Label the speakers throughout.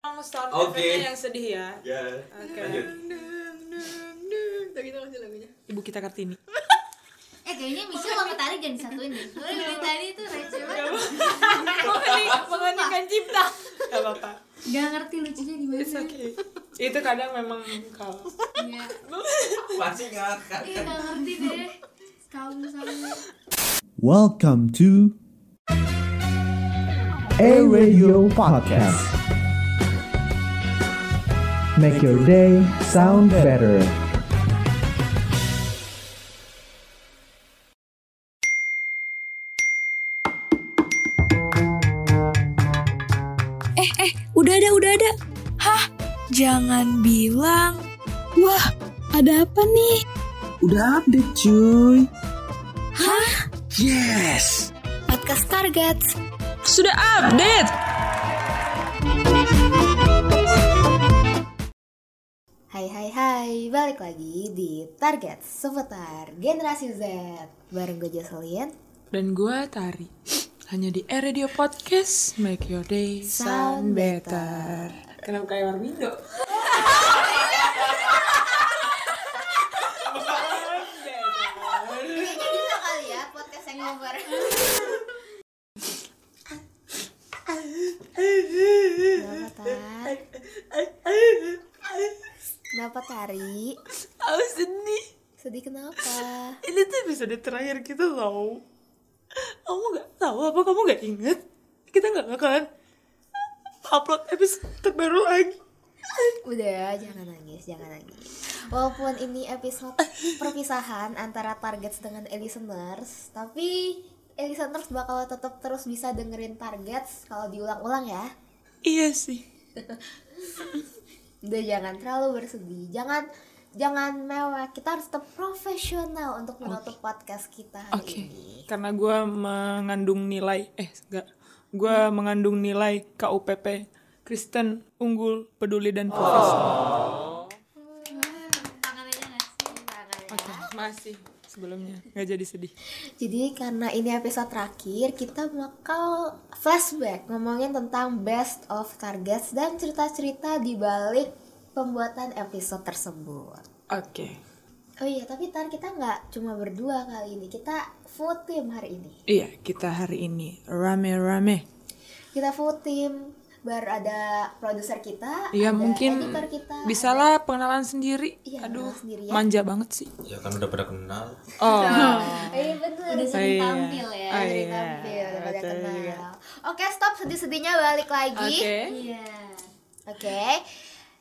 Speaker 1: mau start
Speaker 2: Oke.
Speaker 1: efeknya yang sedih ya.
Speaker 2: Ya.
Speaker 1: Oke.
Speaker 2: Lanjut.
Speaker 3: Tapi
Speaker 1: gitu
Speaker 3: kita kasih lagunya.
Speaker 1: Ibu kita Kartini.
Speaker 4: Eh kayaknya Michelle sama Tari jangan disatuin deh Soalnya dari tadi tuh receh banget
Speaker 1: Mengeningkan cipta. Gak apa-apa.
Speaker 4: Gak ngerti lucunya gimana
Speaker 1: It's okay. Itu kadang memang kalau
Speaker 4: Iya
Speaker 2: Pasti ngakak.
Speaker 4: Iya gak ngerti deh Kaum sama
Speaker 5: Welcome to A Radio Podcast. Make your day sound better.
Speaker 6: Udah ada, udah ada. Hah? Jangan bilang. Wah, ada apa nih?
Speaker 7: Udah update cuy
Speaker 6: Hah?
Speaker 7: Yes
Speaker 6: Podcast target.
Speaker 3: Sudah update.
Speaker 4: Hai hai hai, balik lagi di Target seputar generasi Z Bareng gue Jocelyn
Speaker 1: dan gue Tari. Hanya di Air Radio Podcast Make Your Day Sound Better. Kenapa kayak Warmindo?
Speaker 4: Kayaknya bisa kali ya podcast yang ngobrol Kenapa Tar? Kenapa Tari?
Speaker 1: Aku sedih.
Speaker 4: Sedih kenapa?
Speaker 1: Ini tuh episode terakhir kita loh. Kamu gak tahu apa kamu gak inget? Kita gak bakalan upload episode terbaru lagi.
Speaker 4: Udah, jangan nangis, jangan nangis. Walaupun ini episode perpisahan antara targets dengan listeners, tapi listeners bakal tetap terus bisa dengerin targets kalau diulang-ulang ya.
Speaker 1: Iya sih.
Speaker 4: Udah jangan terlalu bersedih, jangan jangan mewah. Kita harus tetap profesional untuk menutup podcast kita hari
Speaker 1: Oke.
Speaker 4: ini.
Speaker 1: Karena gue mengandung nilai, eh enggak, gue mengandung nilai KUPP Kristen, unggul, peduli dan profesional. Oke, masih sebelumnya nggak jadi sedih.
Speaker 4: Jadi karena ini episode terakhir, kita bakal flashback ngomongin tentang best of targets dan cerita-cerita di balik pembuatan episode tersebut.
Speaker 1: Oke,
Speaker 4: Oh iya, tapi tar kita nggak cuma berdua kali ini, kita full team hari ini.
Speaker 1: iya kita hari ini rame-rame.
Speaker 4: Kita full team, baru ada produser kita,
Speaker 1: Iya
Speaker 4: ada
Speaker 1: mungkin
Speaker 4: editor kita,
Speaker 1: bisalah pengenalan sendiri.
Speaker 4: Iya,
Speaker 1: Aduh,
Speaker 4: pengenalan sendiri ya.
Speaker 1: manja banget sih.
Speaker 2: Ya kan udah pada kenal.
Speaker 1: Oh,
Speaker 4: ada- Eh
Speaker 1: Oh, iya. Oh,
Speaker 4: bener, dari
Speaker 1: iya.
Speaker 4: ya, tampil, udah pada
Speaker 1: Betul
Speaker 4: kenal.
Speaker 1: juga.
Speaker 4: Oke, stop sedih-sedihnya balik lagi. Iya.
Speaker 1: Oke.
Speaker 4: Oke,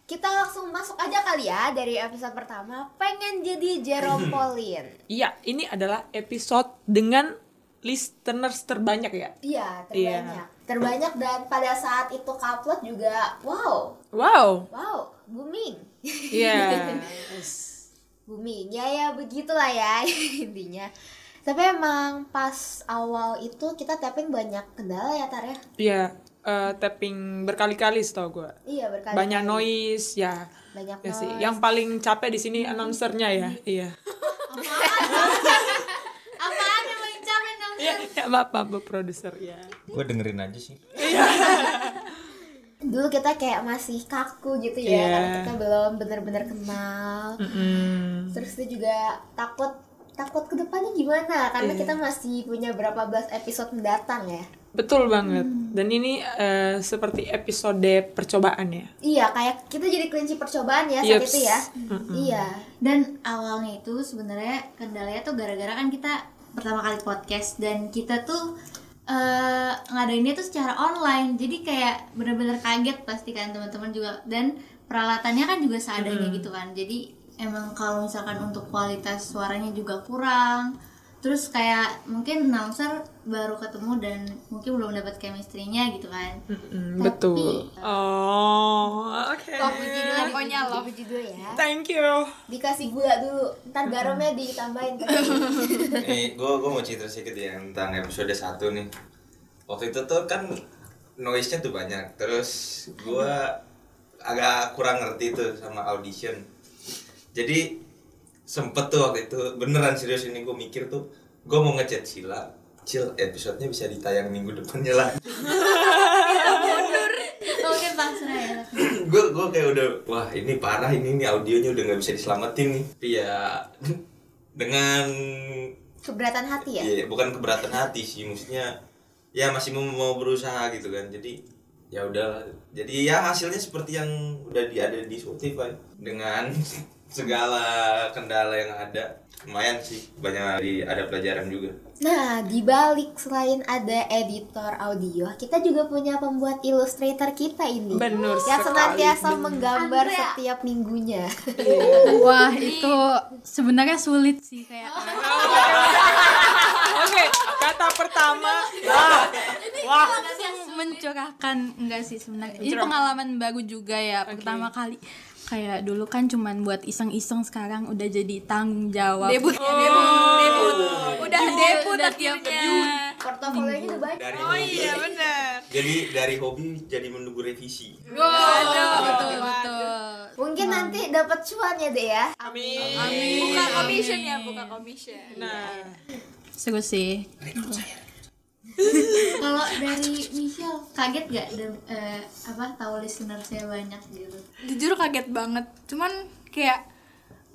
Speaker 4: kita langsung masuk aja kali ya dari episode pertama. Pengen jadi Jerome Pauline.
Speaker 1: Iya, ini adalah episode dengan listeners terbanyak ya.
Speaker 4: Iya, terbanyak. Terbanyak dan pada saat itu upload juga wow,
Speaker 1: Wow.
Speaker 4: wow, booming.
Speaker 1: Iya.
Speaker 4: booming. Ya ya begitulah ya intinya. Tapi emang pas awal itu kita tapping banyak kendala ya Tar ya?
Speaker 1: Iya, eh, tapping berkali-kali setahu gue.
Speaker 4: Iya berkali.
Speaker 1: Banyak noise ya.
Speaker 4: Banyak
Speaker 1: Ya sih,
Speaker 4: noise. Mm-hmm.
Speaker 1: yang paling capek di sini announcernya ya. Iya.
Speaker 4: Apaan yang paling capek dong?
Speaker 1: Iya, ya, maaf, maaf, Bu produser ya.
Speaker 2: Gue dengerin aja sih.
Speaker 4: Dulu kita kayak masih kaku gitu ya,
Speaker 1: Iya.
Speaker 4: karena kita belum benar-benar kenal. Terus dia juga takut takut kedepannya gimana karena
Speaker 1: Iya.
Speaker 4: kita masih punya berapa belas episode mendatang ya.
Speaker 1: Betul banget.
Speaker 4: Mm.
Speaker 1: Dan ini eh, seperti episode percobaan ya.
Speaker 4: Iya, kayak kita jadi kelinci percobaan ya saat
Speaker 1: Yeps.
Speaker 4: itu ya. Iya.
Speaker 6: Dan awalnya itu sebenarnya kendalanya tuh gara-gara kan kita pertama kali podcast dan kita tuh eh ngadainnya tuh secara online. Jadi kayak bener-bener kaget pasti kan teman-teman juga dan peralatannya kan juga seadanya gitu kan. Jadi emang kalau misalkan untuk kualitas suaranya juga kurang. Terus kayak mungkin announcer baru ketemu dan mungkin belum dapat chemistry-nya gitu kan.
Speaker 1: Mm, betul. Oh, oke.
Speaker 4: Pokoknya loh. dulu ya.
Speaker 1: Thank you.
Speaker 4: Dikasih gula dulu, ntar garamnya ditambahin.
Speaker 2: Nih, gue gue Eh, mau cerita sedikit ya tentang episode 1 nih. Waktu itu tuh kan noise-nya tuh banyak. Terus gue agak kurang ngerti tuh sama audition. Jadi sempet tuh waktu itu beneran serius ini gue mikir tuh gue mau ngechat Sila Cil, episodenya bisa ditayang minggu depannya lagi
Speaker 6: Mungkin pasrah ya.
Speaker 2: gue kayak udah wah ini parah ini ini audionya udah nggak bisa diselamatin nih tapi ya dengan
Speaker 4: Keberatan hati ya?
Speaker 2: ya bukan keberatan hati sih maksudnya ya masih mau, mau berusaha gitu kan jadi ya udah jadi ya hasilnya seperti yang udah di, ada di Spotify dengan segala kendala yang ada lumayan sih banyak di, ada pelajaran juga
Speaker 4: Nah, di balik selain ada editor audio, kita juga punya pembuat ilustrator kita ini.
Speaker 1: Benar
Speaker 4: yang
Speaker 1: sekali,
Speaker 4: senantiasa
Speaker 1: benar.
Speaker 4: menggambar
Speaker 6: Andrea.
Speaker 4: setiap minggunya.
Speaker 3: Iya.
Speaker 8: Wah itu sebenarnya sulit sih kayak
Speaker 3: Oh,
Speaker 1: Oke, kata pertama. Wah, wah.
Speaker 8: kan mencurahkan enggak sih sebenarnya. Ini pengalaman baru juga ya pertama kali kayak dulu kan cuman buat iseng-iseng sekarang udah jadi tanggung jawab. Oh. Iya,
Speaker 3: Debut ya, debut, debut. Udah debut
Speaker 8: udah tiap
Speaker 3: akhirnya.
Speaker 4: Portofolionya udah banyak.
Speaker 2: dari hobi
Speaker 3: benar.
Speaker 2: jadi dari hobi jadi menunggu revisi
Speaker 8: Betul, betul, betul.
Speaker 4: Mungkin nanti dapat cuan ya, Dek ya.
Speaker 1: Amin.
Speaker 3: Buka commission ya, buka commission.
Speaker 1: Nah,
Speaker 8: Seru sih.
Speaker 6: Kalau dari Michelle kaget gak dan eh, apa tahu listener saya banyak gitu?
Speaker 3: Jujur kaget banget. Cuman kayak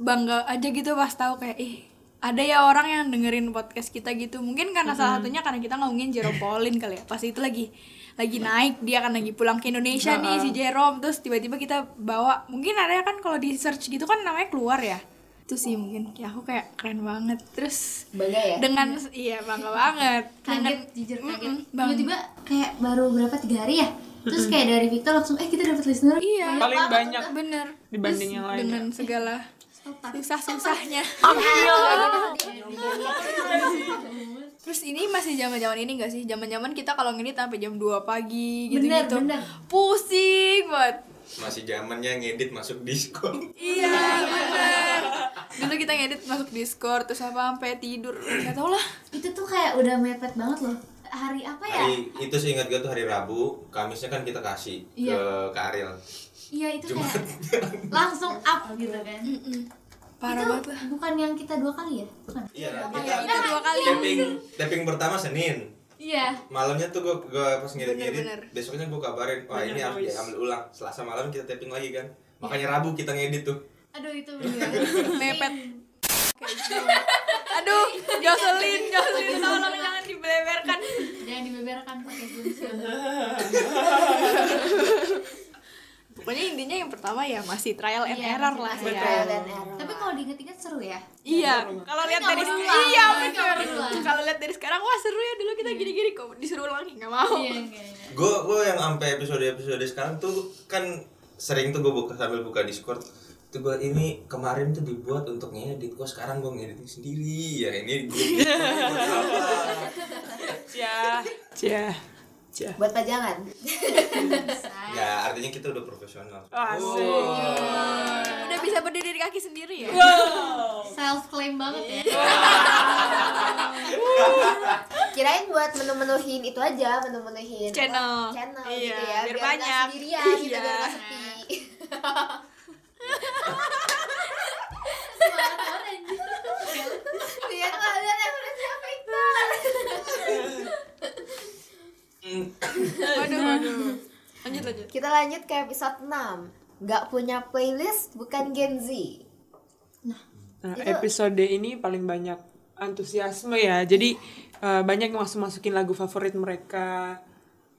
Speaker 3: bangga aja gitu pas tahu kayak ih ada ya orang yang dengerin podcast kita gitu mungkin karena salah satunya karena kita ngomongin Jerome Pauline kali ya pas itu lagi lagi naik dia kan lagi pulang ke Indonesia nih si Jerome terus tiba-tiba kita bawa mungkin ada kan kalau di search gitu kan namanya keluar ya itu sih mungkin ya aku kayak keren banget terus
Speaker 4: Bangga ya?
Speaker 3: dengan iya bangga banget
Speaker 6: Kaget,
Speaker 3: Dengan-
Speaker 6: jujur kaget.
Speaker 3: Mm-mm, bangga.
Speaker 6: Tiba-tiba kayak baru berapa tiga hari ya? Terus kayak dari Victor langsung eh kita dapat listener.
Speaker 3: iya
Speaker 1: paling banyak
Speaker 3: bener
Speaker 1: dibanding
Speaker 3: Terus
Speaker 1: yang
Speaker 6: Oh,
Speaker 1: lain.
Speaker 6: iya. Eh,
Speaker 3: dengan segala susah-susahnya terus ini masih zaman-zaman ini gak sih zaman-zaman kita kalau ngedit sampai jam 2 pagi gitu
Speaker 6: Bener,
Speaker 3: gitu
Speaker 6: bener.
Speaker 3: pusing banget
Speaker 2: masih zamannya ngedit masuk diskon
Speaker 3: iya bener dulu kita ngedit masuk Discord terus apa sampai tidur nggak tau lah
Speaker 6: Itu tuh kayak udah mepet banget loh. Hari apa ya?
Speaker 2: hari itu seingat gue tuh hari Rabu Kamisnya kan kita kasih
Speaker 6: Iya.
Speaker 2: ke ke Ariel
Speaker 6: Iya itu
Speaker 2: Cuma-
Speaker 6: kayak langsung up gitu kan.
Speaker 3: parah
Speaker 6: itu
Speaker 3: banget lah
Speaker 6: bukan yang kita dua kali ya? Bukan.
Speaker 2: iya
Speaker 3: ya,
Speaker 2: kita
Speaker 3: itu dua kali
Speaker 2: tapping tapping pertama Senin
Speaker 6: Iya.
Speaker 2: malamnya tuh gue pas
Speaker 3: Bener,
Speaker 2: ngedit-ngedit besoknya gue kabarin wah ini harus diambil ulang Selasa malam kita tapping lagi kan makanya Rabu kita ngedit tuh
Speaker 6: Aduh itu. Iya.
Speaker 3: mepet aduh Jocelyn Jocelyn tolong jangan Iya. dibeleberkan
Speaker 6: Dan dibeberkan pakai gunting.
Speaker 3: pokoknya intinya yang pertama ya masih trial and
Speaker 6: Iya,
Speaker 3: error
Speaker 6: masih
Speaker 3: lah
Speaker 6: trial
Speaker 3: ya
Speaker 4: Trial and error.
Speaker 6: Tapi kalau diinget-inget seru ya.
Speaker 3: iya kalau lihat dari
Speaker 6: nggak
Speaker 3: sekarang
Speaker 6: berulang.
Speaker 3: iya
Speaker 6: Tapi nggak
Speaker 3: benar
Speaker 6: berulang.
Speaker 3: kalau lihat dari sekarang wah seru ya dulu kita gini-gini kok disuruh ulang nggak mau
Speaker 6: iya.
Speaker 2: gue gue yang sampai episode episode sekarang tuh kan sering tuh gue buka sambil buka discord tuh gue ini kemarin tuh dibuat untuk ngedit gue sekarang gue ngedit sendiri ya ini grup
Speaker 1: Cia, cia, cia.
Speaker 4: Buat pajangan.
Speaker 2: ya
Speaker 1: Eh.
Speaker 2: artinya kita udah profesional
Speaker 1: Oh,
Speaker 2: Oh,
Speaker 3: udah bisa berdiri di kaki sendiri ya
Speaker 6: Self claim banget ya.
Speaker 4: Kirain buat menemenuhin itu aja, menemenuhin
Speaker 3: Channel.
Speaker 4: channel
Speaker 3: Iya,
Speaker 4: gitu ya.
Speaker 3: biar
Speaker 4: nggak
Speaker 3: banyak.
Speaker 4: sendirian gitu,
Speaker 3: Iya.
Speaker 4: biar nggak sepi. Lihat lah, Iya, lihat lah, udah siapa itu.
Speaker 3: waduh waduh lanjut lanjut
Speaker 4: Kita lanjut ke episode 6 Gak punya playlist, bukan Gen Z
Speaker 1: Nah,
Speaker 4: Itu-
Speaker 1: episode ini paling banyak antusiasme ya. Jadi eh, banyak yang masuk masukin lagu favorit mereka.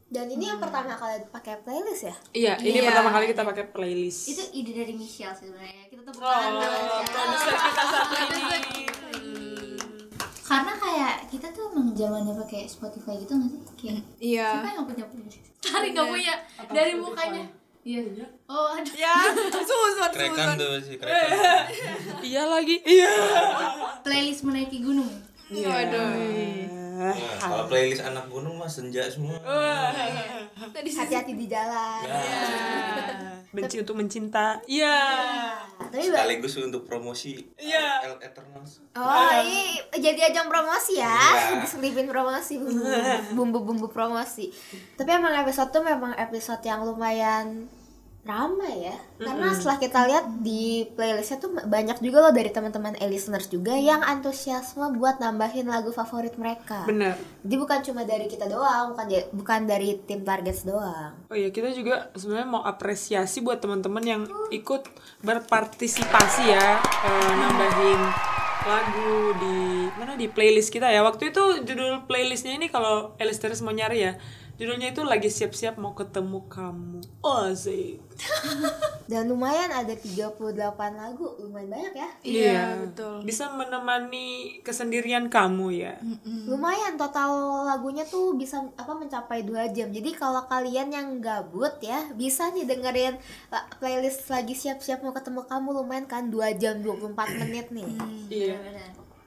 Speaker 4: Dan ini
Speaker 3: Hmm.
Speaker 4: yang pertama kali pakai playlist ya?
Speaker 1: Iya, ini
Speaker 3: Iya.
Speaker 1: pertama kali kita pakai playlist.
Speaker 6: itu ide dari Michelle sebenarnya kita tepuk tangan banget ya.
Speaker 1: Oh, kita satu ini.
Speaker 6: karena kayak kita tuh emang zamannya pakai Spotify gitu nggak sih kayak
Speaker 3: iya
Speaker 6: siapa yang nggak punya playlist Tari nggak punya dari mukanya iya oh ada
Speaker 3: ya susun
Speaker 2: kerekan
Speaker 3: susun
Speaker 2: tuh sih kerekan
Speaker 1: Iya lagi. Iya.
Speaker 6: playlist menaiki gunung
Speaker 3: waduh
Speaker 2: Wah,
Speaker 3: Iya,
Speaker 2: kalau playlist anak gunung mah senja semua
Speaker 3: tadi
Speaker 4: Hati-hati di jalan
Speaker 2: Ya.
Speaker 1: iya. Benci untuk mencinta. Iya.
Speaker 4: Nah, Tapi
Speaker 2: Ya,
Speaker 4: ba-
Speaker 2: sekaligus untuk promosi eh,
Speaker 1: Iya.
Speaker 2: El Eternals
Speaker 4: Oh ini jadi ajang promosi ya
Speaker 2: Iya.
Speaker 4: Diselipin promosi bumbu- Bumbu-bumbu promosi Tapi emang episode tuh memang episode yang lumayan ramai ya karena setelah kita lihat di playlistnya tuh banyak juga loh dari teman-teman listeners juga yang antusiasme buat nambahin lagu favorit mereka
Speaker 1: Benar.
Speaker 4: jadi bukan cuma dari kita doang bukan ja- bukan dari tim targets doang
Speaker 1: Oh iya, kita juga sebenarnya mau apresiasi buat teman-teman yang ikut berpartisipasi ya eh, nambahin lagu di mana di playlist kita ya. Waktu itu judul playlistnya ini kalau Elisteris mau nyari ya, judulnya itu lagi siap-siap mau ketemu kamu. Oh sih.
Speaker 4: dan lumayan ada 38 lagu lumayan banyak ya
Speaker 1: Iya, betul. Bisa menemani kesendirian kamu ya.
Speaker 4: lumayan total lagunya tuh bisa apa mencapai dua jam jadi kalau kalian yang gabut ya bisa nih dengerin la- playlist lagi siap-siap mau ketemu kamu lumayan kan 2 jam 24 menit nih
Speaker 3: Hmm.
Speaker 1: Iya.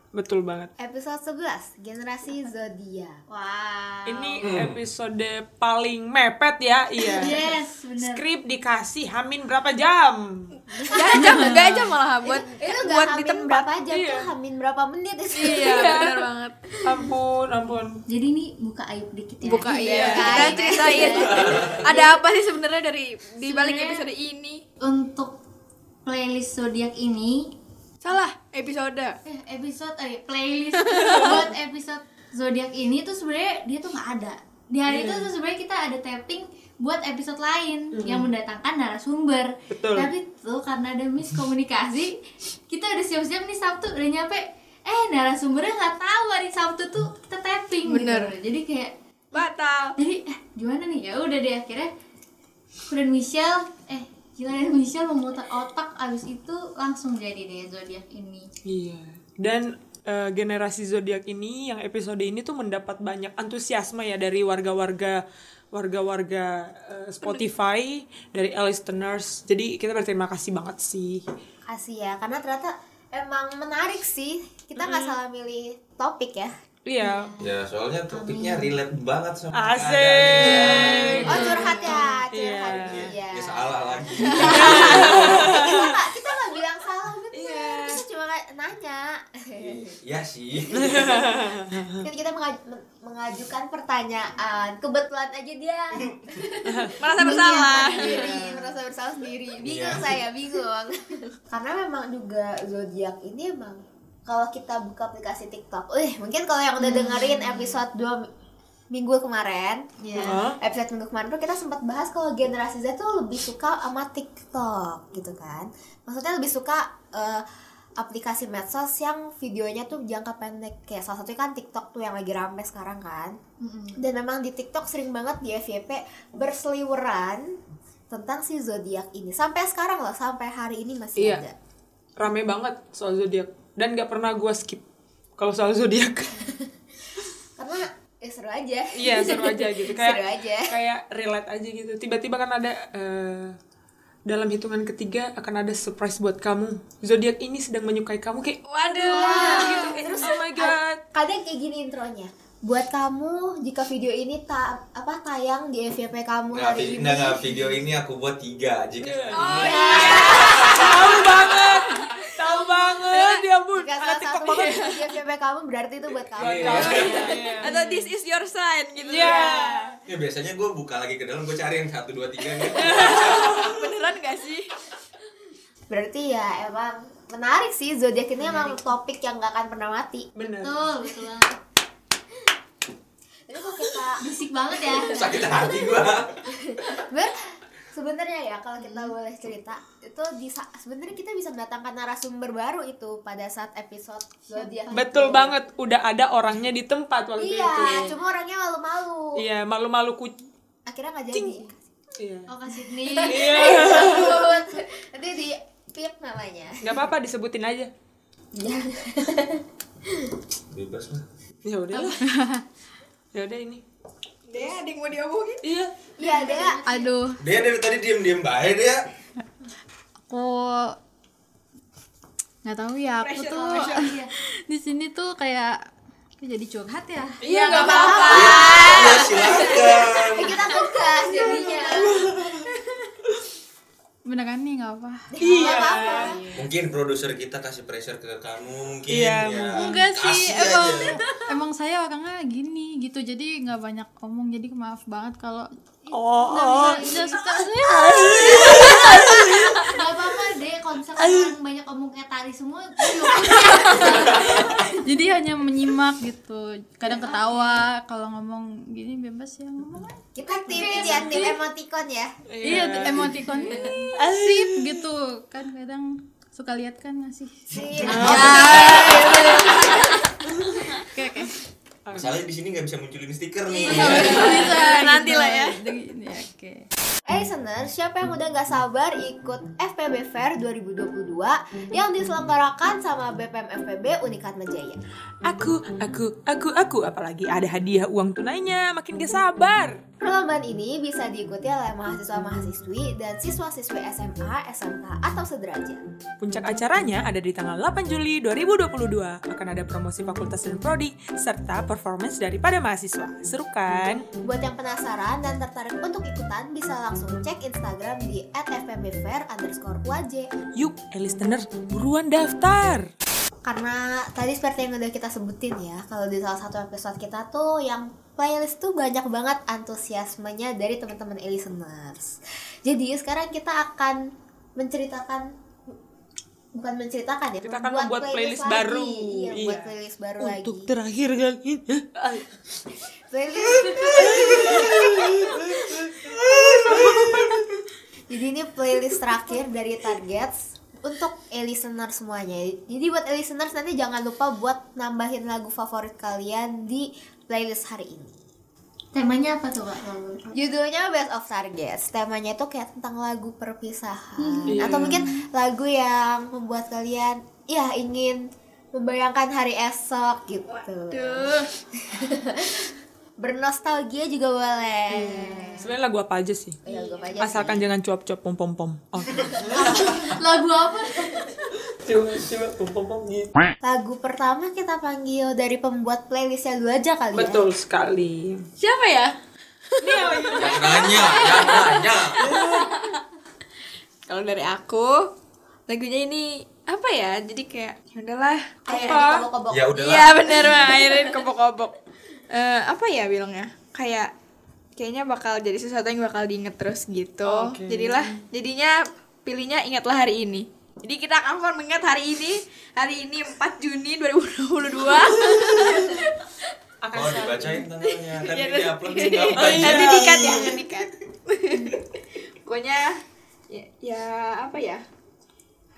Speaker 1: Betul banget.
Speaker 4: episode 11 generasi zodiak
Speaker 6: Wow.
Speaker 1: Ini episode paling mepet ya, iya.
Speaker 6: Yes, bener.
Speaker 1: Skrip dikasih Hamin berapa jam?
Speaker 3: Gak aja, gak aja malah buat
Speaker 4: itu gak
Speaker 3: Eh, buat di
Speaker 4: hamin
Speaker 3: tempat.
Speaker 4: berapa jam
Speaker 1: Iya.
Speaker 4: tuh hamin berapa menit itu
Speaker 3: Iya, benar banget.
Speaker 1: Ampun, ampun.
Speaker 6: Jadi ini buka aib dikit ya.
Speaker 3: Buka iya. Kita ceritain. Ada apa sih sebenarnya dari di balik episode ini?
Speaker 6: Untuk playlist zodiak ini
Speaker 3: Salah, episode.
Speaker 6: eh, episode eh playlist buat episode zodiak ini tuh sebenarnya dia tuh nggak ada. Di hari itu tuh sebenarnya kita ada tapping buat episode lain yang mendatangkan narasumber.
Speaker 1: Betul.
Speaker 6: Tapi tuh karena ada miskomunikasi, kita udah siap-siap nih Sabtu udah nyampe. Eh narasumbernya nggak tahu hari Sabtu tuh kita tapping
Speaker 3: Bener.
Speaker 6: gitu. Jadi kayak
Speaker 3: Batal.
Speaker 6: jadi eh, gimana nih ya udah deh akhirnya aku dan Michelle eh gila dan Michelle memutar otak abis itu langsung jadi deh zodiak ini
Speaker 1: Iya. Dan eh, generasi zodiak ini yang episode ini tuh mendapat banyak antusiasme ya dari warga-warga warga-warga eh, Spotify dari listeners. Jadi kita berterima kasih banget sih.
Speaker 4: kasih ya karena ternyata emang menarik sih kita nggak
Speaker 3: Hmm.
Speaker 4: salah milih topik ya
Speaker 1: Iya.
Speaker 2: Ya soalnya topiknya relate banget sama
Speaker 3: Iya.
Speaker 1: Asik.
Speaker 6: Iya.
Speaker 4: oh curhat ya curhat
Speaker 2: keadaan. Ya,
Speaker 4: iya.
Speaker 2: ya salah lagi.
Speaker 3: Iya.
Speaker 4: kita nggak kita nggak bilang salah bener kita cuma
Speaker 3: Iya.
Speaker 4: nanya
Speaker 2: ya sih.
Speaker 4: kan kita mengaj- men- mengajukan pertanyaan kebetulan aja dia
Speaker 3: Merasa bersalah.
Speaker 4: menyiapkan
Speaker 6: Iya.
Speaker 4: diri merasa bersalah sendiri bingung
Speaker 2: Iya.
Speaker 4: saya bingung karena memang juga zodiak ini emang kalau kita buka aplikasi TikTok, eh mungkin kalau yang udah dengerin episode 2 minggu kemarin,
Speaker 1: Hah?
Speaker 4: episode minggu kemarin tuh kita sempat bahas kalau generasi Z tuh lebih suka sama TikTok gitu kan. Maksudnya lebih suka eh, aplikasi medsos yang videonya tuh jangka pendek kayak salah satunya kan TikTok tuh yang lagi rame sekarang kan. Dan memang di TikTok sering banget di FYP berseliweran tentang si zodiak ini. Sampai sekarang loh, sampai hari ini masih
Speaker 1: Iya.
Speaker 4: ada.
Speaker 1: Rame banget soal zodiak dan gak pernah gua skip kalau soal zodiak.
Speaker 4: Karena ya seru aja.
Speaker 1: Iya seru aja gitu kayak
Speaker 4: Seru aja.
Speaker 1: kayak relate aja gitu tiba-tiba kan ada eh, dalam hitungan ketiga akan ada surprise buat kamu zodiak ini sedang menyukai kamu kayak waduh gitu Eh, oh my god
Speaker 4: kadang kayak gini intronya buat kamu jika video ini ta apa tayang di FYP kamu
Speaker 2: Nggak, Nah,
Speaker 4: hari
Speaker 2: vi-
Speaker 4: ini
Speaker 2: nggak, nggak, video ini aku buat tiga
Speaker 1: Iya.
Speaker 2: jika
Speaker 1: tahu banget tahu banget ya bun
Speaker 4: jika
Speaker 1: ada
Speaker 4: salah
Speaker 1: tiktok
Speaker 4: satu
Speaker 1: banget
Speaker 4: video di FYP kamu berarti itu buat
Speaker 1: Oh,
Speaker 4: kamu
Speaker 2: Iya.
Speaker 3: Atau this is your sign gitu.
Speaker 1: Iya.
Speaker 2: ya biasanya gue buka lagi ke dalam gue cari yang satu dua tiga nih
Speaker 3: Beneran gak sih?
Speaker 4: berarti ya emang menarik sih zodiak ini emang topik yang gak akan pernah mati
Speaker 1: bener
Speaker 6: betul betul banget.
Speaker 4: tapi kalau kita
Speaker 6: berisik banget ya
Speaker 2: sakit hati gue
Speaker 4: Ber, sebenarnya ya kalau kita
Speaker 1: Hmm.
Speaker 4: boleh cerita itu di sa- sebenarnya kita bisa mendatangkan narasumber baru itu pada saat episode zodiak
Speaker 1: betul banget udah ada orangnya di tempat waktu
Speaker 4: iya
Speaker 1: itu
Speaker 4: cuma orangnya malu-malu
Speaker 1: iya malu-malu kucing
Speaker 4: akhirnya nggak jadi
Speaker 1: iya
Speaker 6: oh kasih nih
Speaker 4: nanti di pip namanya
Speaker 1: nggak apa-apa disebutin aja
Speaker 2: bebas lah
Speaker 1: ya udah ya udah ini
Speaker 3: Deh, ada yang mau diomongin.
Speaker 1: iya
Speaker 4: Iya ada
Speaker 8: Aduh,
Speaker 2: dia dari tadi diem diem baik dia
Speaker 8: aku nggak tahu ya aku tuh
Speaker 4: Iya.
Speaker 8: di sini tuh kayak aku jadi curhat ya.
Speaker 1: iya nggak apa-apa
Speaker 2: ya silakan
Speaker 4: kita ngegas jadinya
Speaker 3: kan?
Speaker 8: Beneran nih nggak apa.
Speaker 4: Iya.
Speaker 2: mungkin produser kita kasih pressure ke kamu mungkin
Speaker 1: Iya,
Speaker 2: ya.
Speaker 8: Enggak sih,
Speaker 2: Kasih
Speaker 8: emang
Speaker 2: aja.
Speaker 8: emang saya orangnya gini gitu. Jadi nggak banyak omong. Jadi maaf banget kalau
Speaker 1: Oh,
Speaker 8: nggak bisa nggak suka.
Speaker 6: sekali semua juga
Speaker 8: jadi hanya menyimak gitu kadang ketawa kalau ngomong gini bebas ya ngomong aja.
Speaker 4: Kita tim ini ya, tim emoticon ya.
Speaker 8: iya tuh emoticon asik gitu kan kadang suka lihat kan ngasih
Speaker 4: Ah.
Speaker 8: oke oke
Speaker 2: Masalahnya di sini nggak bisa munculin stiker nih.
Speaker 8: bisa
Speaker 1: Gitu.
Speaker 3: Nanti lah ya.
Speaker 8: Dengan- ya, oke
Speaker 4: Eh listener, siapa yang udah nggak sabar ikut FPB Fair 2022 yang diselenggarakan sama BPM FPB Unikat Majaya?
Speaker 1: Aku, aku, aku, aku. Apalagi ada hadiah uang tunainya. Makin gak sabar.
Speaker 4: Perlombaan ini bisa diikuti oleh mahasiswa-mahasiswi dan siswa-siswi SMA, SMK, atau sederajat.
Speaker 1: Puncak acaranya ada di tanggal 8 Juli 2022. Akan ada promosi fakultas dan prodi serta performance daripada mahasiswa. Seru kan?
Speaker 4: Buat yang penasaran dan tertarik untuk ikutan, bisa langsung cek Instagram di @fpbfair underscore UAJ.
Speaker 1: Yuk, eh listener, buruan daftar.
Speaker 4: Karena tadi seperti yang udah kita sebutin ya, kalau di salah satu episode kita tuh yang playlist tuh banyak banget antusiasmenya dari teman-teman listeners. Jadi sekarang kita akan menceritakan bukan menceritakan ya,
Speaker 1: Kita akan membuat playlist baru.
Speaker 4: lagi. Iya, membuat
Speaker 1: Iya.
Speaker 4: playlist baru
Speaker 1: Untuk
Speaker 4: lagi.
Speaker 1: terakhir kali.
Speaker 4: Playlist. Jadi ini playlist terakhir dari Targets untuk e-listener semuanya. Jadi buat e-listeners nanti jangan lupa buat nambahin lagu favorit kalian di playlist hari ini.
Speaker 6: temanya apa tuh kak kalau
Speaker 4: Judulnya Best of Targets. Temanya itu kayak tentang lagu perpisahan atau mungkin lagu yang membuat kalian ya ingin membayangkan hari esok gitu. Bernostalgia juga boleh.
Speaker 1: Sebenarnya lagu apa aja sih?
Speaker 4: Ya, gua aja
Speaker 1: Asalkan jangan cuap-cuap pom-pom-pom. Oke.
Speaker 6: lagu apa
Speaker 4: Lagu pertama kita panggil dari pembuat playlistnya lu aja kali ya.
Speaker 1: Betul sekali.
Speaker 8: siapa ya
Speaker 2: Jangan nanya, jangan nanya.
Speaker 3: Kalau dari aku lagunya ini apa ya? Jadi kayak ya udahlah.
Speaker 4: Kayak
Speaker 3: Apa?
Speaker 4: dikobok-kobok.
Speaker 2: Ya udahlah.
Speaker 3: Iya bener mah airin kobok-kobok. Eh, apa ya bilangnya? Kayak kayaknya bakal jadi sesuatu yang bakal diinget terus gitu.
Speaker 1: Oke.
Speaker 3: Jadilah jadinya pilihnya ingatlah hari ini. Jadi kita akan for mengingat hari ini, hari ini 4 Juni 2022.
Speaker 2: Oh dibacain tanggalnya, kan ini
Speaker 3: Iya, nanti-
Speaker 2: upload juga. apa aja.
Speaker 1: Iya.
Speaker 3: Nanti dikat ya, nanti dikat. Pokoknya ya, ya apa ya?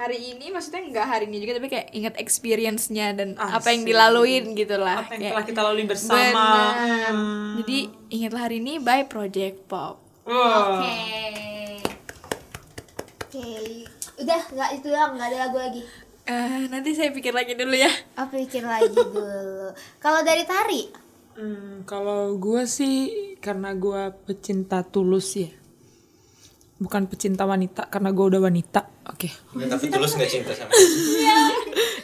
Speaker 3: Hari ini maksudnya nggak hari ini juga tapi kayak ingat experience-nya dan apa yang
Speaker 1: Asik.
Speaker 3: dilaluin gitu lah.
Speaker 1: Apa
Speaker 3: Kayak-
Speaker 1: yang telah kita lalui bersama?
Speaker 3: Benar.
Speaker 1: Hmm.
Speaker 3: Jadi ingatlah hari ini by Project Pop.
Speaker 1: Wah.
Speaker 6: oke
Speaker 4: Oke. Udah nggak itu doang, nggak ada lagu lagi.
Speaker 3: Eh, nanti saya pikir lagi dulu ya.
Speaker 4: Apa pikir lagi dulu. Kalau dari tari,
Speaker 1: Hmm, kalau gue sih karena gue pecinta tulus ya. Bukan pecinta wanita karena gue udah wanita. Oke.
Speaker 2: Nggak, Ya, Tapi tulus nggak cinta sama.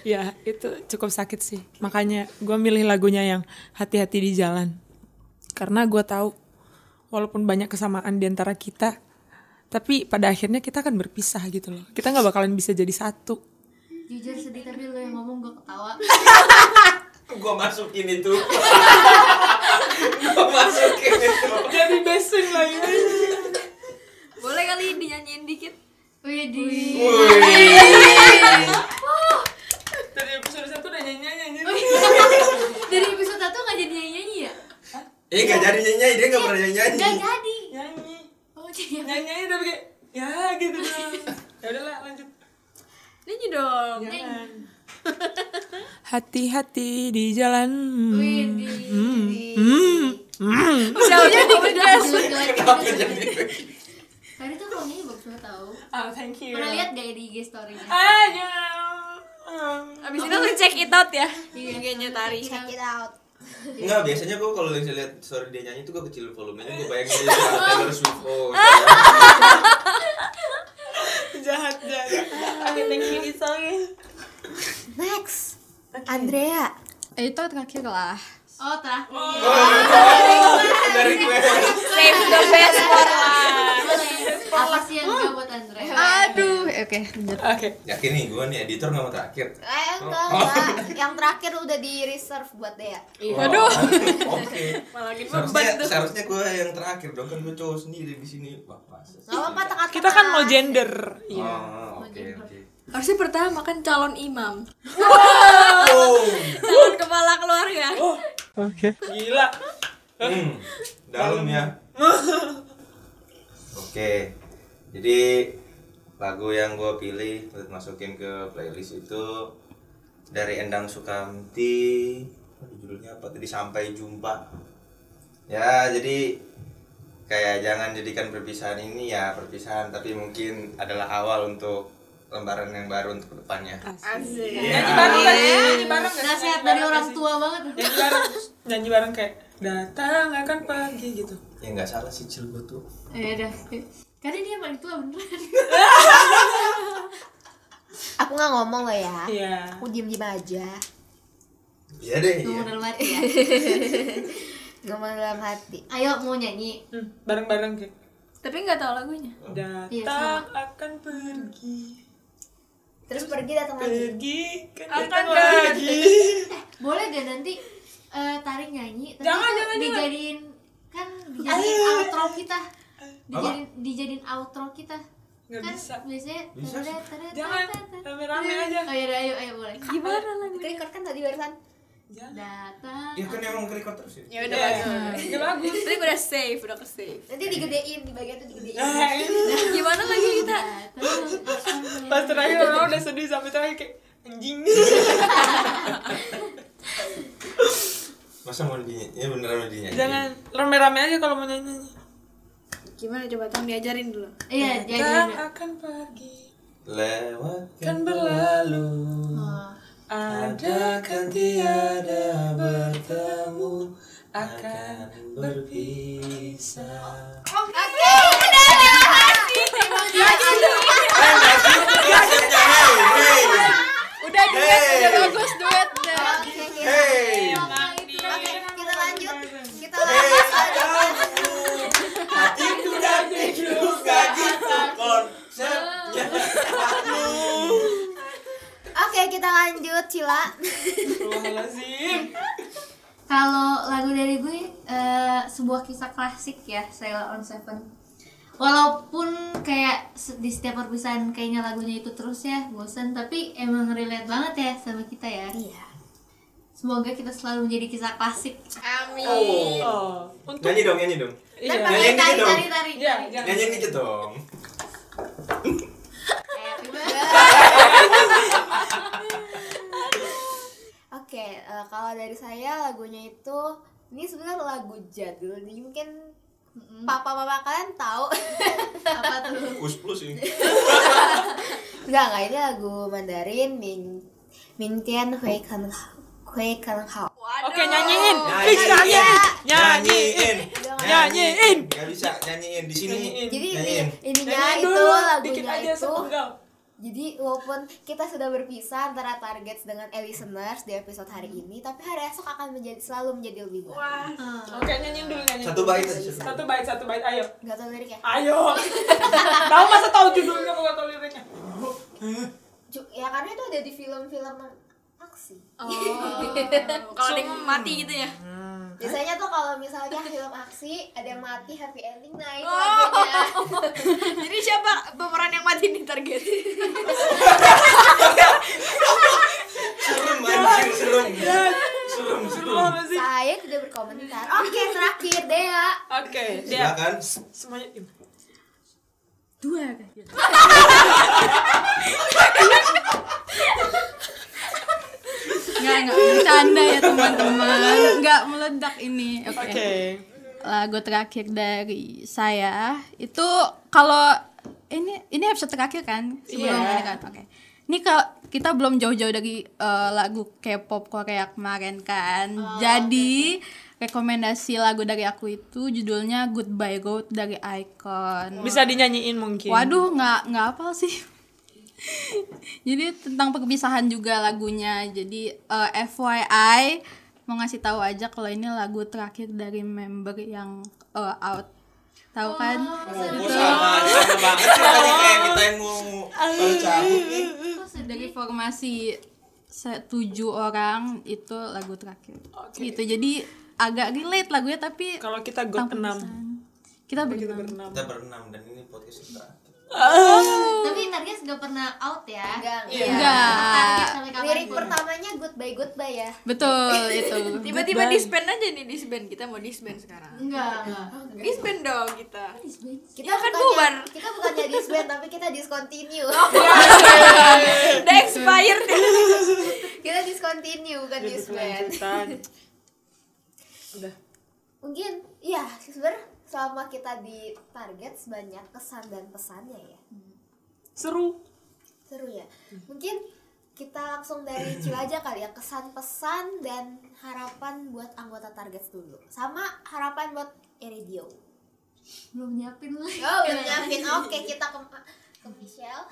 Speaker 1: Ya, itu cukup sakit sih. Makanya gue milih lagunya yang hati-hati di jalan. Karena gue tahu walaupun banyak kesamaan di antara kita, tapi pada akhirnya kita akan berpisah gitu loh. Kita nggak bakalan bisa jadi satu.
Speaker 6: jujur sedih tapi lo yang ngomong gue ketawa
Speaker 2: Kok Gua masukin itu. Gua masukin itu.
Speaker 1: Jadi besing lagi.
Speaker 3: Boleh kali dinyanyiin dikit?
Speaker 6: Widih
Speaker 1: Dari episode satu udah nyanyi-nyanyi.
Speaker 6: dari episode satu nggak jadi nyanyi nyanyi ya
Speaker 2: Eh nggak jadi nyanyi, dia nggak pernah nyanyi.
Speaker 6: nggak jadi
Speaker 1: Nyanyi.
Speaker 6: oh jadi apa?
Speaker 1: Nyanyi udah kayak ya gitu dong. Ya udahlah lanjut.
Speaker 3: Nyanyi dong.
Speaker 6: Iya.
Speaker 1: Hati-hati di jalan.
Speaker 6: Widih
Speaker 3: Udah udah udah.
Speaker 2: Kenapa jadi begitu?
Speaker 6: Tadi tuh kalau nyanyi bagus banget tau
Speaker 1: Oh, thank you.
Speaker 6: Pernah lihat gak ya di IG story-nya?
Speaker 1: Ah, ya. Hmm.
Speaker 3: Abis itu lu check it out ya.
Speaker 6: Iya.
Speaker 3: Kayaknya tari.
Speaker 4: check it out.
Speaker 2: Nggak, biasanya gua kalau bisa lihat story dia nyanyi tuh gua kecil volumenya, gua bayangin dia Taylor Swift. Oh,
Speaker 1: jahat jahat. Tapi thank you Isong.
Speaker 4: Next, Andrea.
Speaker 8: eh, itu terakhir lah
Speaker 6: Oh terakhir
Speaker 2: iya. Oh, dari gue.
Speaker 3: Save the best for
Speaker 6: Boleh. Apa sih yang gak buat Andre?
Speaker 8: aduh
Speaker 3: Eh,
Speaker 8: oke lanjut
Speaker 1: Oke.
Speaker 2: Yakin nih gua nih editor nggak mau terakhir.
Speaker 4: Eh enggak, enggak. Yang terakhir udah di reserve buat Dea.
Speaker 2: Aduh. Oke.
Speaker 1: Malah gini
Speaker 2: Seharusnya seharusnya gue yang terakhir dong kan gue cowok sendiri di sini. Wah, pas.
Speaker 4: Oh,
Speaker 1: kan
Speaker 4: Gak apa-apa tengah-tengah.
Speaker 1: Kita kan mau gender. Iya.
Speaker 2: Oh, oke oke.
Speaker 8: oke
Speaker 3: harusnya pertama kan calon imam
Speaker 2: Wow.
Speaker 3: calon kepala keluarga
Speaker 1: Gila.
Speaker 2: Hmm, dalam ya. Oke. Jadi lagu yang gue pilih buat masukin ke playlist itu dari Endang Sukamti. Aduh, judulnya apa tadi sampai jumpa. Ya, jadi kayak jangan jadikan perpisahan ini ya perpisahan tapi mungkin adalah awal untuk lembaran yang baru untuk kedepannya.
Speaker 1: Asik.
Speaker 2: Iya.
Speaker 1: Nyanyi bareng gak sih? Nyanyi bareng gak sih?
Speaker 6: Nasihat
Speaker 1: Nyanyi
Speaker 6: dari
Speaker 1: bareng
Speaker 6: orang
Speaker 1: gak sih?
Speaker 6: tua banget.
Speaker 1: Nyanyi bareng. Nyanyi bareng kayak datang akan pagi gitu.
Speaker 2: Ya nggak salah sih cil gue tuh.
Speaker 6: Ya udah. Karena dia yang paling tua beneran.
Speaker 1: Iya.
Speaker 4: Aku nggak ngomong loh ya.
Speaker 1: Iya.
Speaker 4: Aku diem diem aja.
Speaker 2: Iya deh. Iya.
Speaker 6: Ngomong dalam hati ya.
Speaker 4: Ngomong dalam hati.
Speaker 6: Ayo mau nyanyi.
Speaker 1: Hmm, bareng-bareng kayak
Speaker 3: tapi nggak tahu lagunya
Speaker 6: Iya,
Speaker 1: datang
Speaker 6: sama.
Speaker 1: akan pergi.
Speaker 4: Terus pergi datang lagi.
Speaker 1: Pergi kan
Speaker 6: Akan
Speaker 1: datang
Speaker 6: pergi.
Speaker 1: lagi.
Speaker 6: Boleh gak nanti eh, tarik nyanyi tapi
Speaker 1: Jangan,
Speaker 6: itu
Speaker 1: jangan, jangan.
Speaker 6: dijadiin kan dijadiin outro kita. Dijadiin dijadiin outro kita.
Speaker 1: Nggak
Speaker 6: kan
Speaker 1: bisa.
Speaker 6: biasanya
Speaker 2: Bisa
Speaker 6: tada, tada,
Speaker 1: Jangan
Speaker 6: tada, tada.
Speaker 1: rame-rame aja. Iya.
Speaker 6: Oh ya ayo ayo boleh.
Speaker 3: gimana lagu
Speaker 4: Kita record kan tadi barusan.
Speaker 1: Jangan.
Speaker 6: Datang.
Speaker 1: Iya,
Speaker 2: Ya kan emang record terus ya.
Speaker 3: ya
Speaker 1: Udah bagus. Udah bagus.
Speaker 3: tapi udah save udah ke save
Speaker 4: Nanti digedein di bagian itu digedein.
Speaker 1: Nah, ini
Speaker 3: gimana lagi
Speaker 1: kan.
Speaker 3: kita
Speaker 1: pas terakhir orang udah sedih sampai terakhir kayak anjing.
Speaker 2: Masa mau di ya beneran mau dinyanyi?
Speaker 1: Jangan rame-rame aja kalau mau nyanyi.
Speaker 3: gimana coba tolong diajarin dulu
Speaker 6: Iya,
Speaker 1: Datang
Speaker 6: jadi
Speaker 1: akan pergi.
Speaker 2: Lewatkan
Speaker 1: Kan berlalu. Ada kan
Speaker 2: Adakan tiada bertemu
Speaker 1: akan berpisah.
Speaker 8: Udah duet,
Speaker 2: Hey.
Speaker 8: udah bagus duet deh.
Speaker 4: Oke,
Speaker 2: Eh,
Speaker 4: oke.
Speaker 2: iya. Hey,
Speaker 4: Oke, kita lanjut. Kita
Speaker 2: hey,
Speaker 4: lanjut.
Speaker 2: kamu Hatiku dan juga gitu konsepnya
Speaker 4: Oke, kita lanjut, Cila.
Speaker 1: Astagfirullahaladzim.
Speaker 6: Kalau lagu dari gue eh, sebuah kisah klasik ya Sailor on Seven. Walaupun kayak se- di setiap perpisahan kayaknya lagunya itu terus ya bosan tapi emang relate banget ya sama kita ya.
Speaker 4: Iya.
Speaker 6: Semoga kita selalu menjadi kisah klasik.
Speaker 1: Oh, untuk
Speaker 2: Nyanyi dong, nyanyi dong
Speaker 4: Dan
Speaker 1: iya.
Speaker 2: Nyanyiin
Speaker 4: pakai tari
Speaker 2: dikit dong.
Speaker 4: tari tari.
Speaker 1: Iya,
Speaker 6: Ya.
Speaker 1: jangan.
Speaker 2: Nyanyiin dikit dong
Speaker 4: Oke, eh, kalau dari saya lagunya itu ini sebenarnya lagu jadul nih mungkin papa-papa kalian tahu.
Speaker 6: Apa tuh?
Speaker 2: Kus plus ini
Speaker 4: Enggak, enggak ini lagu Mandarin Min Min Tian Hui Kan Hui Kan Hao.
Speaker 1: Oke, nyanyiin.
Speaker 4: Oh,
Speaker 2: Nyanyiin.
Speaker 1: Fix
Speaker 4: iya,
Speaker 1: nyanyiin.
Speaker 2: Iya.
Speaker 1: Nyanyiin. Nyanyiin.
Speaker 2: Gak bisa, nyanyiin di sini
Speaker 1: Nyanyiin.
Speaker 4: Jadi iya. ini
Speaker 2: Nyanyiin.
Speaker 4: ininya
Speaker 1: Nyanyiin
Speaker 4: Nah, itu
Speaker 1: dulu, dikit
Speaker 4: lagunya
Speaker 1: aja
Speaker 4: itu
Speaker 1: sepenggal.
Speaker 4: Jadi walaupun kita sudah berpisah antara targets dengan e listeners di episode hari ini, tapi hari esok akan menjadi selalu menjadi lebih baik.
Speaker 1: Wah. Oke, nyanyiin dulu nyanyiin.
Speaker 2: Satu
Speaker 1: dulu.
Speaker 2: bait aja, satu
Speaker 1: Satu bait, satu bait. Ayo.
Speaker 4: Gak tau liriknya.
Speaker 1: Ayo. Tahu masa tahu judulnya kalau nggak tahu liriknya.
Speaker 4: Ju- Ya karena itu ada di film-film aksi.
Speaker 3: Oh. kalau ada yang mati gitu ya
Speaker 4: Biasanya tuh kalau misalnya film aksi ada yang mati happy ending nah itu
Speaker 3: Oh.
Speaker 4: lagunya.
Speaker 3: jadi siapa pemeran yang mati di target
Speaker 2: Serem anjir, serem Serem, serem
Speaker 1: Astagfirullahaladzim.
Speaker 4: Saya tidak berkomentar.
Speaker 3: Oh.
Speaker 4: Oke, terakhir ya. Dea.
Speaker 1: Oke, dia
Speaker 2: Silakan
Speaker 1: semuanya. im.
Speaker 8: Dua kan? Enggak, enggak bercanda ya teman-teman. Enggak meledak ini. Oke.
Speaker 1: Oke.
Speaker 8: Lagu terakhir dari saya itu kalau ini ini episode terakhir kan sebelum
Speaker 1: Iya.
Speaker 8: ini kan. Oke. Ini kalau kita belum jauh-jauh dari eh, lagu K-pop Korea kemarin kan. Jadi rekomendasi lagu dari aku itu judulnya Goodbye Road dari Icon.
Speaker 1: Bisa dinyanyiin mungkin.
Speaker 8: Waduh, nggak nggak apa sih. Jadi tentang perpisahan juga lagunya. Jadi eh, FYI mau ngasih tahu aja kalau ini lagu terakhir dari member yang eh, out. Tahu kan?
Speaker 2: Oh, sama, sama banget sih tadi kayak kita yang mau baru cabut nih.
Speaker 8: Dari formasi se- tujuh orang itu lagu terakhir.
Speaker 1: Oke.
Speaker 8: Gitu. Jadi agak relate lagunya tapi
Speaker 1: Kalau kita
Speaker 8: tentang
Speaker 1: got 6.
Speaker 8: perpisahan. Kita
Speaker 1: Kita
Speaker 8: berenam.
Speaker 1: berenam.
Speaker 2: Kita berenam dan ini podcast yang terakhir.
Speaker 6: Tapi Target gak pernah out ya
Speaker 4: Enggak,
Speaker 3: Iya.
Speaker 4: enggak.
Speaker 6: Target
Speaker 8: Enggak.
Speaker 6: sampai
Speaker 4: Iya. Lirik
Speaker 6: kapanpun.
Speaker 4: pertamanya goodbye goodbye ya.
Speaker 8: Betul itu.
Speaker 3: Tiba-tiba disband aja nih disband kita mau disband sekarang.
Speaker 6: enggak enggak
Speaker 4: Oh,
Speaker 3: Disband dong kita.
Speaker 4: Kita
Speaker 3: Ya kan
Speaker 4: bukannya-
Speaker 3: bubar. Oh, iya.
Speaker 4: Kita bukannya disband tapi kita discontinue.
Speaker 3: Udah expired.
Speaker 4: kita discontinue bukan disband.
Speaker 1: Lanjutan. Udah.
Speaker 4: Mungkin iya sebenarnya selama kita di target banyak kesan dan pesannya ya.
Speaker 1: Seru.
Speaker 4: Seru ya. Mungkin kita langsung dari Cil aja kali ya kesan pesan dan harapan buat anggota target dulu. Sama harapan buat Eridio.
Speaker 6: belum nyiapin lah
Speaker 4: Oh, udah nyiapin. Oke, kita ke ke Michelle.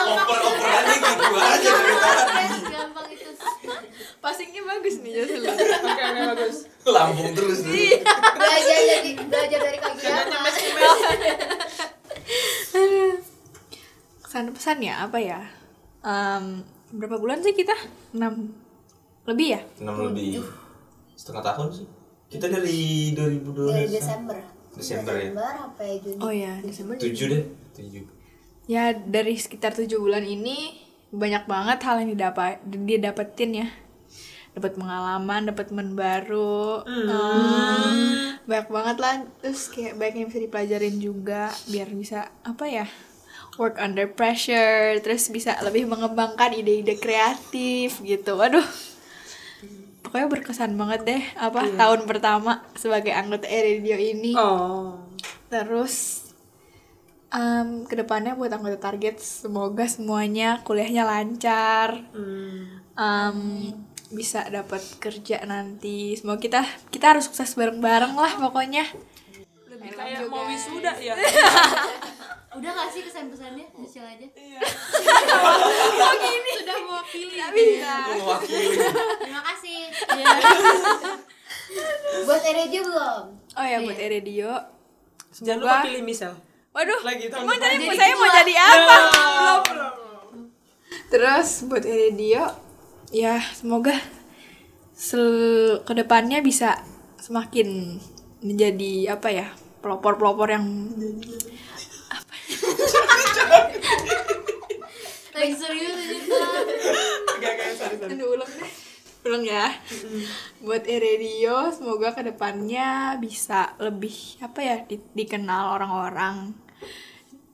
Speaker 2: Oper-operannya gitu aja dari tadi.
Speaker 6: gampang itu
Speaker 3: Passingnya bagus nih Jocelyn.
Speaker 1: Oke, oke, bagus.
Speaker 2: Lambung terus nih.
Speaker 4: Iya. Belajar jadi belajar dari ya, Kak Giana.
Speaker 3: kesan pesannya apa ya Em, berapa bulan sih kita 6 lebih ya
Speaker 2: 6 lebih setengah tahun sih. Kita dari
Speaker 4: Dari
Speaker 2: 2012
Speaker 4: Desember.
Speaker 2: Desember ya.
Speaker 4: Desember sampai Juni.
Speaker 3: oh ya Desember
Speaker 2: 7 deh, 7.
Speaker 3: ya dari sekitar tujuh bulan ini banyak banget hal yang didapat didapetin ya dapat pengalaman dapat teman baru Em, banyak banget lah terus kayak banyak yang bisa dipelajarin juga biar bisa apa ya work under pressure terus bisa lebih mengembangkan ide-ide kreatif gitu waduh pokoknya berkesan banget deh apa tahun pertama sebagai anggota radio ini
Speaker 1: Oh.
Speaker 3: Terus em, kedepannya buat anggota target semoga semuanya kuliahnya lancar,
Speaker 1: Hmm.
Speaker 3: Em, bisa dapat kerja nanti. Semoga kita kita harus sukses bareng-bareng lah pokoknya.
Speaker 1: Lebih kayak mau wisuda ya.
Speaker 6: udah gak sih kesan pesannya Michelle aja
Speaker 8: Sudah mewakili.
Speaker 2: Mewakili.
Speaker 6: terima kasih
Speaker 4: Buat Eredio belum?
Speaker 3: Oh ya buat radio.
Speaker 1: Jangan lupa pilih misal.
Speaker 3: Waduh,
Speaker 1: Lagi tahun
Speaker 3: emang
Speaker 1: depan.
Speaker 3: tadi saya mau jadi apa? Belum. Terus buat radio, ya semoga sel kedepannya bisa semakin menjadi apa ya pelopor-pelopor yang ya?
Speaker 6: lagi serius aja
Speaker 3: Aduh, ulang deh. Ulang ya. Buat Eredio semoga kedepannya bisa lebih apa ya di- dikenal orang-orang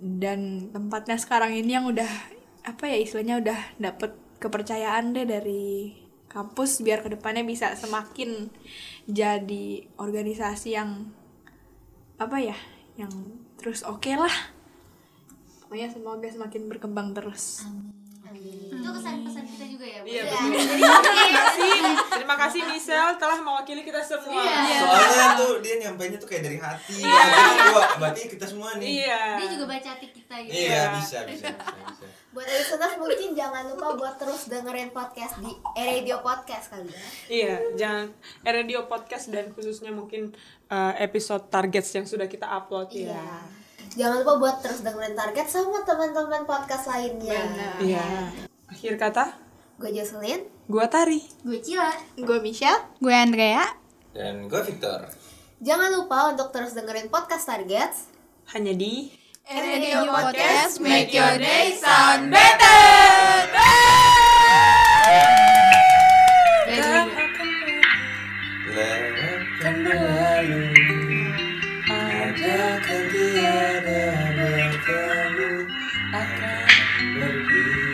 Speaker 3: dan tempatnya sekarang ini yang udah apa ya istilahnya udah dapet kepercayaan deh dari kampus biar kedepannya bisa semakin jadi organisasi yang apa ya yang terus oke lah pokoknya semoga semakin berkembang terus
Speaker 6: itu kesan pesan kita juga ya Bu?
Speaker 1: Iya,
Speaker 6: Ya.
Speaker 1: betul. Terima kasih. Iya. Iya. Terima kasih Michelle telah mewakili kita semua.
Speaker 2: Soalnya tuh dia nyampainya tuh kayak dari hati. Jadi gua berarti kita semua nih.
Speaker 1: Iya.
Speaker 6: dia juga baca hati kita gitu
Speaker 2: Iya, bisa, bisa, bisa, bisa.
Speaker 4: Buat listeners mungkin jangan lupa buat terus dengerin podcast di Eredio Podcast kali ya.
Speaker 1: Iya, jangan eh, radio podcast dan khususnya mungkin eh, episode targets yang sudah kita upload ya.
Speaker 4: Iya. Jangan lupa buat terus dengerin target sama teman-teman podcast lainnya.
Speaker 1: Iya. Akhir kata,
Speaker 4: Gue Jocelyn.
Speaker 1: gua Tari.
Speaker 6: gue cila
Speaker 3: gue Michelle
Speaker 8: Gue Andrea.
Speaker 2: Dan gue Victor.
Speaker 4: Jangan lupa untuk terus dengerin podcast target.
Speaker 1: Hanya di
Speaker 3: Eh,
Speaker 4: Eh,
Speaker 8: Radio Podcast Make Your Day Sound
Speaker 2: Lewatkan berlalu Ada tiada bertemu Akan pergi